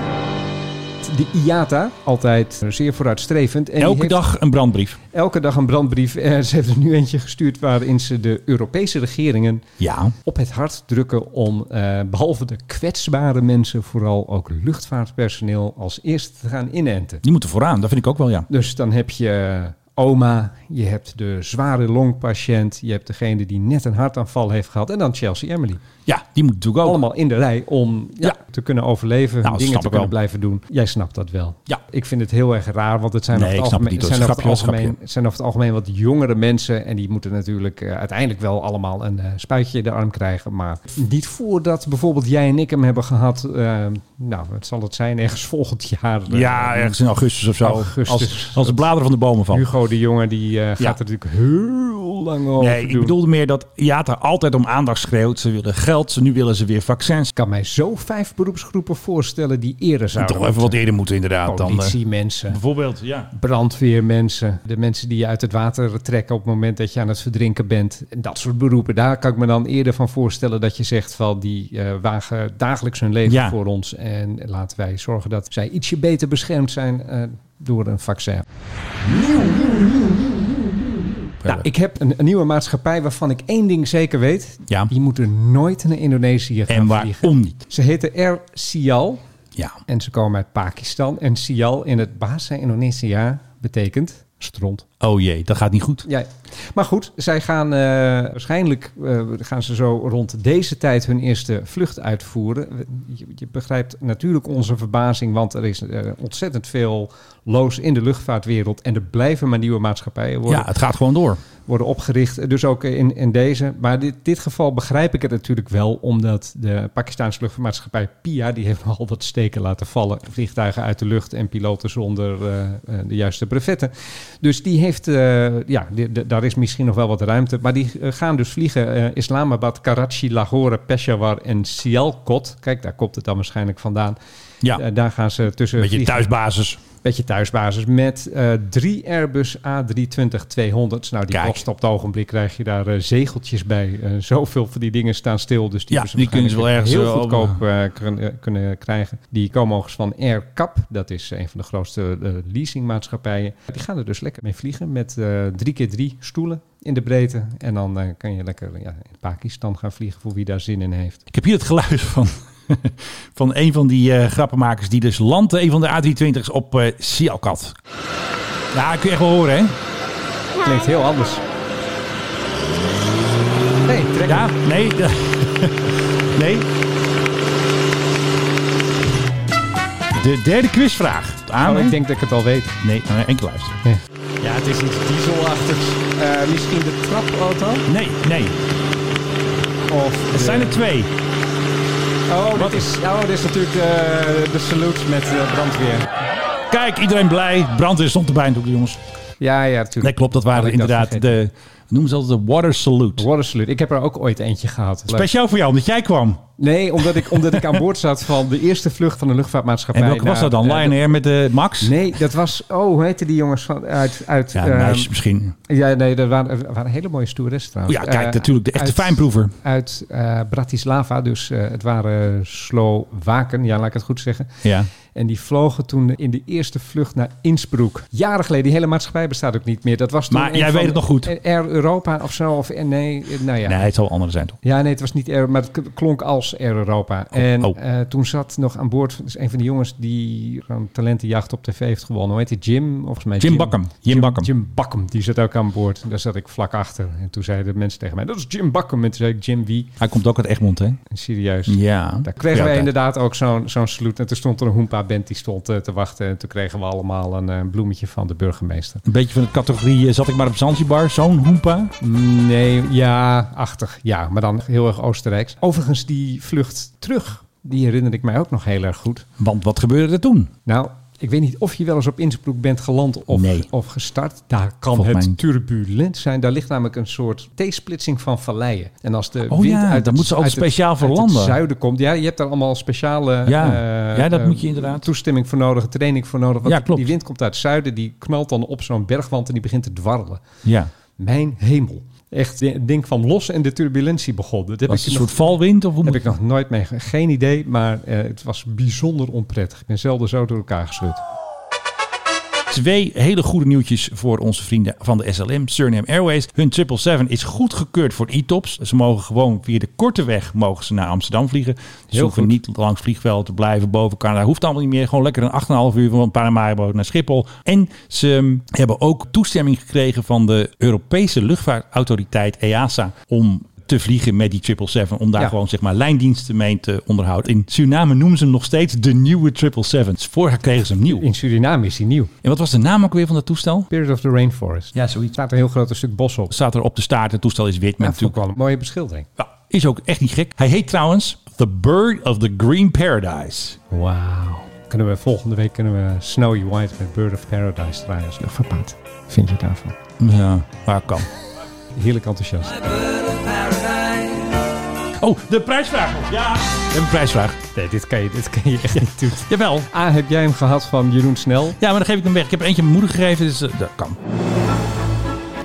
Speaker 4: De IATA, altijd zeer vooruitstrevend. En die
Speaker 2: Elke
Speaker 4: heeft
Speaker 2: dag een brandbrief.
Speaker 4: Elke dag een brandbrief. [laughs] Eh, ze hebben er nu eentje gestuurd waarin ze de Europese regeringen
Speaker 2: Ja.
Speaker 4: op het hart drukken om eh, behalve de kwetsbare mensen vooral ook luchtvaartpersoneel als eerste te gaan inenten.
Speaker 2: Die moeten vooraan, dat vind ik ook wel, ja.
Speaker 4: Dus dan heb je eh, oma, je hebt de zware longpatiënt, je hebt degene die net een hartaanval heeft gehad en dan Chelsea Emily.
Speaker 2: Ja, die moet natuurlijk ook.
Speaker 4: Allemaal in de rij om ja, te kunnen overleven,
Speaker 2: Nou, dat
Speaker 4: dingen
Speaker 2: snap
Speaker 4: te
Speaker 2: ik
Speaker 4: kunnen
Speaker 2: wel.
Speaker 4: blijven doen. Jij snapt dat wel.
Speaker 2: Ja.
Speaker 4: Ik vind het heel erg raar, want het zijn,
Speaker 2: Nee,
Speaker 4: over, het
Speaker 2: ik snap het niet,
Speaker 4: algemeen,
Speaker 2: hoor.
Speaker 4: het zijn over, het
Speaker 2: Grapje was
Speaker 4: algemeen, het zijn over het algemeen wat jongere mensen en die moeten natuurlijk eh, uiteindelijk wel allemaal een eh, spuitje in de arm krijgen. Maar niet voordat bijvoorbeeld jij en ik hem hebben gehad, eh, nou, het zal het zijn, ergens volgend jaar. eh,
Speaker 2: Ja, ergens in augustus of zo.
Speaker 4: Augustus.
Speaker 2: Als, als de bladeren van de bomen vallen.
Speaker 4: Hugo de Jonge die eh, gaat er natuurlijk heel lang over
Speaker 2: Nee, ik
Speaker 4: doen.
Speaker 2: bedoelde meer dat IATA altijd om aandacht schreeuwt. Ze willen geld, ze, nu willen ze weer vaccins.
Speaker 4: kan mij zo vijf beroepsgroepen voorstellen die eerder zouden
Speaker 2: Toch even wat eerder moeten inderdaad. dan, eh.
Speaker 4: Politiemensen,
Speaker 2: Bijvoorbeeld, ja.
Speaker 4: brandweermensen, de mensen die je uit het water trekken op het moment dat je aan het verdrinken bent. En dat soort beroepen, daar kan ik me dan eerder van voorstellen dat je zegt van die eh, wagen dagelijks hun leven
Speaker 2: Ja.
Speaker 4: voor ons. En laten wij zorgen dat zij ietsje beter beschermd zijn eh, door een vaccin. Nou, ik heb een, een nieuwe maatschappij waarvan ik één ding zeker weet.
Speaker 2: Ja.
Speaker 4: Die moeten nooit naar Indonesië gaan
Speaker 2: En
Speaker 4: vliegen.
Speaker 2: waarom niet?
Speaker 4: Ze heten Air Sial
Speaker 2: Ja.
Speaker 4: en ze komen uit Pakistan. En Sial in het Bahasa Indonesia betekent stront.
Speaker 2: Oh jee, dat gaat niet goed.
Speaker 4: Ja. Maar goed, zij gaan eh, waarschijnlijk eh, gaan ze zo rond deze tijd hun eerste vlucht uitvoeren. We- Je, je begrijpt natuurlijk onze verbazing, want er is eh, ontzettend veel loos in de luchtvaartwereld. En er blijven maar nieuwe maatschappijen worden
Speaker 2: Ja, het gaat gewoon door.
Speaker 4: worden opgericht. Dus ook in, in deze. Maar dit, dit geval begrijp ik het natuurlijk wel, omdat de Pakistaanse luchtvaartmaatschappij PIA, die heeft [laughs] nogal wat steken laten vallen. Vliegtuigen uit de lucht en piloten zonder eh, eh, de juiste brevetten. Dus die heeft, eh, ja, di- di- daar is misschien nog wel wat ruimte. Maar die eh, gaan dus vliegen eh, Islamabad, Karachi, Lahore, Peshawar en Sialkot. Kijk, daar komt het dan waarschijnlijk vandaan.
Speaker 2: Ja.
Speaker 4: Eh, daar gaan ze tussen...
Speaker 2: Beetje
Speaker 4: vliegen.
Speaker 2: thuisbasis.
Speaker 4: Beetje thuisbasis met eh, drie Airbus A320-200. Nou, die
Speaker 2: Kijk.
Speaker 4: kosten op het ogenblik krijg je daar eh, zegeltjes bij. Eh, zoveel van die dingen staan stil. Dus die,
Speaker 2: Ja,
Speaker 4: hebben ze
Speaker 2: die kunnen ze wel
Speaker 4: waarschijnlijk
Speaker 2: ergens,
Speaker 4: heel
Speaker 2: eh,
Speaker 4: goedkoop eh, kun- eh, kunnen krijgen. Die komen overigens van AirCap. Dat is een van de grootste eh, leasingmaatschappijen. Die gaan er dus lekker mee vliegen met eh, drie keer drie stoelen in de breedte. En dan eh, kan je lekker ja, in Pakistan gaan vliegen voor wie daar zin in heeft.
Speaker 2: Ik heb hier het geluid van, [laughs] van een van die eh, grappenmakers die dus landt, een van de A320's op eh Sialkat. Ja, dat kun je echt wel horen, hè?
Speaker 4: Klinkt heel anders. Nee, trek
Speaker 2: Ja, nee. [laughs] de- nee. De derde quizvraag. Aan.
Speaker 4: Oh, ik denk dat ik het al weet.
Speaker 2: Nee, eh, enkel luisteren.
Speaker 4: Ja, het is iets dieselachtigs. Eh, misschien de trapauto?
Speaker 2: Nee, nee.
Speaker 4: Of
Speaker 2: Het
Speaker 4: de-
Speaker 2: zijn er twee.
Speaker 4: Oh, dit is, oh, dit is natuurlijk de, de salute met eh, brandweer.
Speaker 2: Kijk, iedereen blij. Brandweer stond erbij natuurlijk, jongens.
Speaker 4: Ja, ja, natuurlijk.
Speaker 2: Nee, klopt. Dat waren
Speaker 4: Had Oh, ik dat
Speaker 2: inderdaad
Speaker 4: vergeten.
Speaker 2: de noemen ze altijd de water salute.
Speaker 4: Water salute. Ik heb er ook ooit eentje gehad.
Speaker 2: Speciaal voor jou, omdat jij kwam.
Speaker 4: Nee, omdat ik, omdat ik aan boord zat van de eerste vlucht van de luchtvaartmaatschappij.
Speaker 2: En welke was dat dan? Lion Air met de Max?
Speaker 4: Nee, dat was... Oh, hoe heette die jongens van, uit... uit ehm,
Speaker 2: Ja, Muis misschien.
Speaker 4: Ja, nee, dat waren, er waren hele mooie stewardess trouwens.
Speaker 2: oh Ja, kijk,
Speaker 4: Eh,
Speaker 2: natuurlijk, de echte
Speaker 4: uit-
Speaker 2: fijnproever.
Speaker 4: Uit eh, Bratislava, dus eh, het waren Slowaken, ja, laat ik het goed zeggen.
Speaker 2: Ja.
Speaker 4: En die vlogen toen in de eerste vlucht naar Innsbruck. Jaren geleden, die hele maatschappij bestaat ook niet meer. Dat was toen
Speaker 2: Maar
Speaker 4: een
Speaker 2: jij
Speaker 4: van
Speaker 2: weet het nog goed.
Speaker 4: Air Europa of zo, of eh, nee, eh, nou ja.
Speaker 2: Nee, het zal andere zijn toch?
Speaker 4: Ja, nee, het was niet Air, maar het k- klonk als Air Europa.
Speaker 2: Oh,
Speaker 4: en eh, toen zat nog aan boord, dus een van de jongens die een talentenjacht op tv heeft gewonnen. Hoe heet die? Jim, volgens mij.
Speaker 2: Jim Bakkum. Jim Bakkum.
Speaker 4: Jim Bakkum, die zat ook aan boord. En Daar zat ik vlak achter. En toen zeiden de mensen tegen mij, dat is Jim Bakkum. En toen zei ik, Jim wie?
Speaker 2: Hij komt ook uit Egmond, hè?
Speaker 4: Serieus.
Speaker 2: Ja.
Speaker 4: Daar kregen
Speaker 2: Mhm. Ja,
Speaker 4: wij
Speaker 2: oké.
Speaker 4: inderdaad ook zo'n zo'n salute. En toen stond er een Hoempa-band die stond eh, te wachten. En toen kregen we allemaal een eh, bloemetje van de burgemeester.
Speaker 2: Een beetje van de categorie eh, zat ik maar op Zanzibar, zo'n hoempa.
Speaker 4: Nee, ja, achtig. Ja, maar dan heel erg Oostenrijks. Overigens, die vlucht terug, die herinner ik mij ook nog heel erg goed.
Speaker 2: Want wat gebeurde er toen?
Speaker 4: Nou, ik weet niet of je wel eens op Innsbruck bent geland of, of gestart. Daar kan
Speaker 2: Volgens
Speaker 4: het
Speaker 2: mij niet.
Speaker 4: turbulent zijn. Daar ligt namelijk een soort T-splitsing van valleien. En als de
Speaker 2: Oh
Speaker 4: wind
Speaker 2: ja,
Speaker 4: uit
Speaker 2: daar
Speaker 4: het-
Speaker 2: moeten ze altijd
Speaker 4: uit het-
Speaker 2: speciaal voor
Speaker 4: uit het
Speaker 2: landen.
Speaker 4: zuiden komt. Ja, je hebt daar allemaal speciale
Speaker 2: Ja.
Speaker 4: eh,
Speaker 2: Ja, dat
Speaker 4: eh,
Speaker 2: moet je inderdaad.
Speaker 4: toestemming voor nodig, training voor nodig. Want
Speaker 2: Ja, klopt.
Speaker 4: die wind komt uit het zuiden, die knalt dan op zo'n bergwand en die begint te dwarrelen.
Speaker 2: Ja.
Speaker 4: Mijn hemel. Echt, het ding kwam los en de turbulentie begon. Dat heb
Speaker 2: Was
Speaker 4: ik
Speaker 2: het een
Speaker 4: nog-
Speaker 2: soort valwind? Of hoe
Speaker 4: heb
Speaker 2: moet-
Speaker 4: ik nog nooit mee. Geen idee, maar eh, het was bijzonder onprettig. Ik ben zelden zo door elkaar geschud.
Speaker 2: Twee hele goede nieuwtjes voor onze vrienden van de SLM, Suriname Airways. Hun 777 is goedgekeurd voor e-tops. Ze mogen gewoon via de korte weg mogen ze naar Amsterdam vliegen. Ze
Speaker 4: Heel
Speaker 2: hoeven
Speaker 4: goed.
Speaker 2: niet langs vliegveld te blijven boven Canada. Hoeft allemaal niet meer. Gewoon lekker een 8,5 uur van Paramaribo naar Schiphol. En ze hebben ook toestemming gekregen van de Europese luchtvaartautoriteit E EASA om te vliegen met die 777, om daar
Speaker 4: Ja.
Speaker 2: gewoon zeg maar lijndiensten mee te onderhouden. In Suriname noemen ze hem nog steeds de nieuwe 777's. Vorig jaar kregen ze hem nieuw.
Speaker 4: In Suriname is hij nieuw.
Speaker 2: En wat was de naam ook weer van dat toestel?
Speaker 4: Spirit of the Rainforest.
Speaker 2: Ja, zoiets.
Speaker 4: Staat een heel groot stuk bos op.
Speaker 2: Staat er op de staart. Het toestel is wit. Maar
Speaker 4: Ja, vond ik
Speaker 2: natuurlijk
Speaker 4: wel een mooie beschildering.
Speaker 2: Ja, is ook echt niet gek. Hij heet trouwens The Bird of the Green Paradise.
Speaker 4: Wauw. Kunnen we volgende week kunnen we Snowy White met Bird of Paradise draaien als luchtvaartpaard. Vind je daarvan?
Speaker 2: Ja, waar kan.
Speaker 4: Heerlijk enthousiast.
Speaker 2: Oh, de prijsvraag. Ja. We hebben een prijsvraag.
Speaker 4: Nee, dit kan je, dit kan je echt niet doen.
Speaker 2: Jawel.
Speaker 4: A, heb jij hem gehad van Jeroen Snel?
Speaker 2: Ja, maar dan geef ik hem weg. Ik heb er eentje aan mijn moeder gegeven, dus eh, dat kan.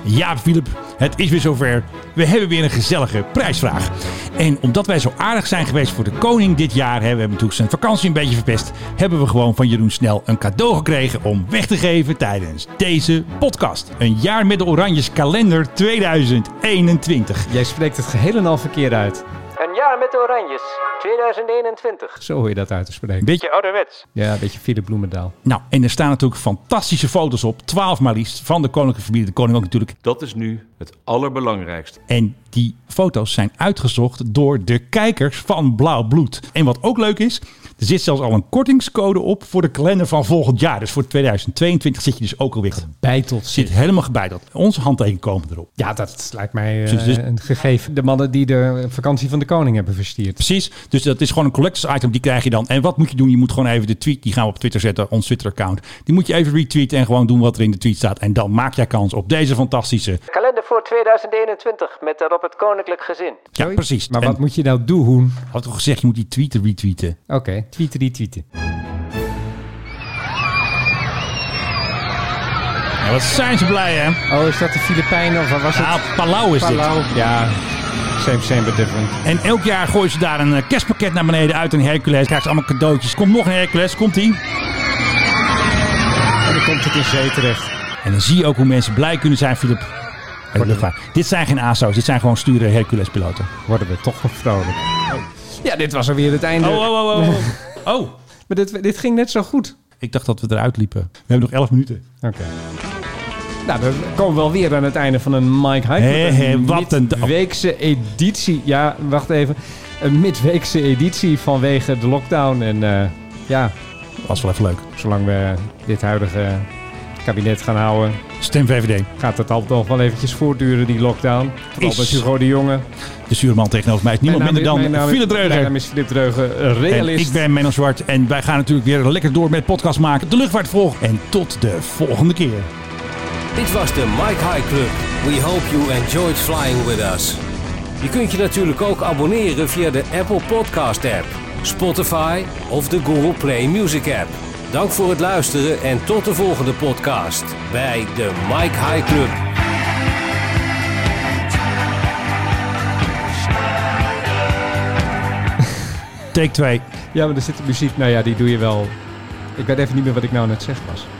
Speaker 2: Ja, Philip, het is weer zover. We hebben weer een gezellige prijsvraag. En omdat wij zo aardig zijn geweest voor de koning dit jaar, hè, we hebben natuurlijk zijn vakantie een beetje verpest, hebben we gewoon van Jeroen Snel een cadeau gekregen om weg te geven tijdens deze podcast. Een jaar met de Oranjes kalender 2021.
Speaker 4: Jij spreekt het geheel en al verkeerd uit.
Speaker 13: Een jaar met de Oranjes, 2021.
Speaker 4: Zo hoor je dat uit te spreken.
Speaker 2: Beetje
Speaker 13: ouderwets.
Speaker 4: Ja, een beetje Philip Bloemendaal.
Speaker 2: Nou, en er staan natuurlijk fantastische foto's op, 12 maar liefst, van de koninklijke familie, de koning ook natuurlijk.
Speaker 14: Dat is nu het allerbelangrijkste.
Speaker 2: En die foto's zijn uitgezocht door de kijkers van Blauw Bloed. En wat ook leuk is, er zit zelfs al een kortingscode op voor de kalender van volgend jaar. Dus voor 2022 zit je dus ook alweer
Speaker 4: gebeiteld.
Speaker 2: Zit helemaal gebeiteld. Onze handtekening komen erop.
Speaker 4: Ja, dat lijkt mij eh,
Speaker 2: Dus- dus-
Speaker 4: een gegeven. De mannen die de vakantie van de koning hebben verstierd.
Speaker 2: Precies, dus dat is gewoon een collectors item, die krijg je dan. En wat moet je doen? Je moet gewoon even de tweet, die gaan we op Twitter zetten, ons Twitter-account. Die moet je even retweeten en gewoon doen wat er in de tweet staat. En dan maak jij kans op deze fantastische...
Speaker 13: Kalender voor 2021 met daarop het koninklijk gezin.
Speaker 2: Ja, precies.
Speaker 4: Maar
Speaker 2: En-
Speaker 4: wat moet je nou doen?
Speaker 2: Had toch gezegd, je moet die tweeten retweeten.
Speaker 4: Oké, tweeten die tweeten.
Speaker 2: Ja, wat zijn ze blij, hè?
Speaker 4: Oh, is dat de Filipijnen of wat was
Speaker 2: Ja,
Speaker 4: het?
Speaker 2: Palau Ah, is dit.
Speaker 4: Palau, ja. Same, same, but different.
Speaker 2: En elk jaar gooien ze daar een eh, kerstpakket naar beneden uit een Hercules. Krijgen ze allemaal cadeautjes. Komt nog een Hercules, komt die.
Speaker 4: En dan komt het in zee terecht.
Speaker 2: En dan zie je ook hoe mensen blij kunnen zijn, Filip. Bij de luchtvaart. Dit zijn geen ASO's, dit zijn gewoon sture Hercules-piloten.
Speaker 4: Worden we toch nog vrolijk. Ja, dit was alweer het einde.
Speaker 2: Oh, oh, oh, oh. oh. Oh.
Speaker 4: Maar dit, dit ging net zo
Speaker 2: [laughs]
Speaker 4: goed.
Speaker 2: Ik dacht dat we eruit liepen. We hebben nog 11 minuten.
Speaker 4: Oké. Nou, dan komen we wel weer aan het einde van een Mike High.
Speaker 2: Hé, hé, wat een dag.
Speaker 4: midweekse editie. Ja, wacht even. Een midweekse editie vanwege de lockdown. En eh, ja,
Speaker 2: Was wel even leuk.
Speaker 4: zolang we dit huidige kabinet gaan houden,
Speaker 2: Stem VVD.
Speaker 4: gaat het altijd nog wel eventjes voortduren, die lockdown. Vooral
Speaker 2: Is-
Speaker 4: met Hugo de Jonge.
Speaker 2: De zuurman tegenover mij is niemand
Speaker 4: Mijn
Speaker 2: minder
Speaker 4: naam is-
Speaker 2: dan
Speaker 4: mijn naam is-
Speaker 2: Philip
Speaker 4: Mijn
Speaker 2: Dreuger.
Speaker 4: naam is nou, Philip Dreugen, een
Speaker 2: En
Speaker 4: realist.
Speaker 2: ik ben Menno Zwart en wij gaan natuurlijk weer lekker door met podcast maken. De luchtvaart volgt en tot de volgende keer.
Speaker 5: Dit was de Mike High Club. We hope you enjoyed flying with us. Je kunt je natuurlijk ook abonneren via de Apple Podcast app, Spotify of de Google Play Music app. Dank voor het luisteren en tot de volgende podcast bij de Mike High Club.
Speaker 2: Take 2.
Speaker 4: Ja, maar er zit de muziek. Nou ja, die doe je wel. Ik weet even niet meer wat ik nou net zeg was.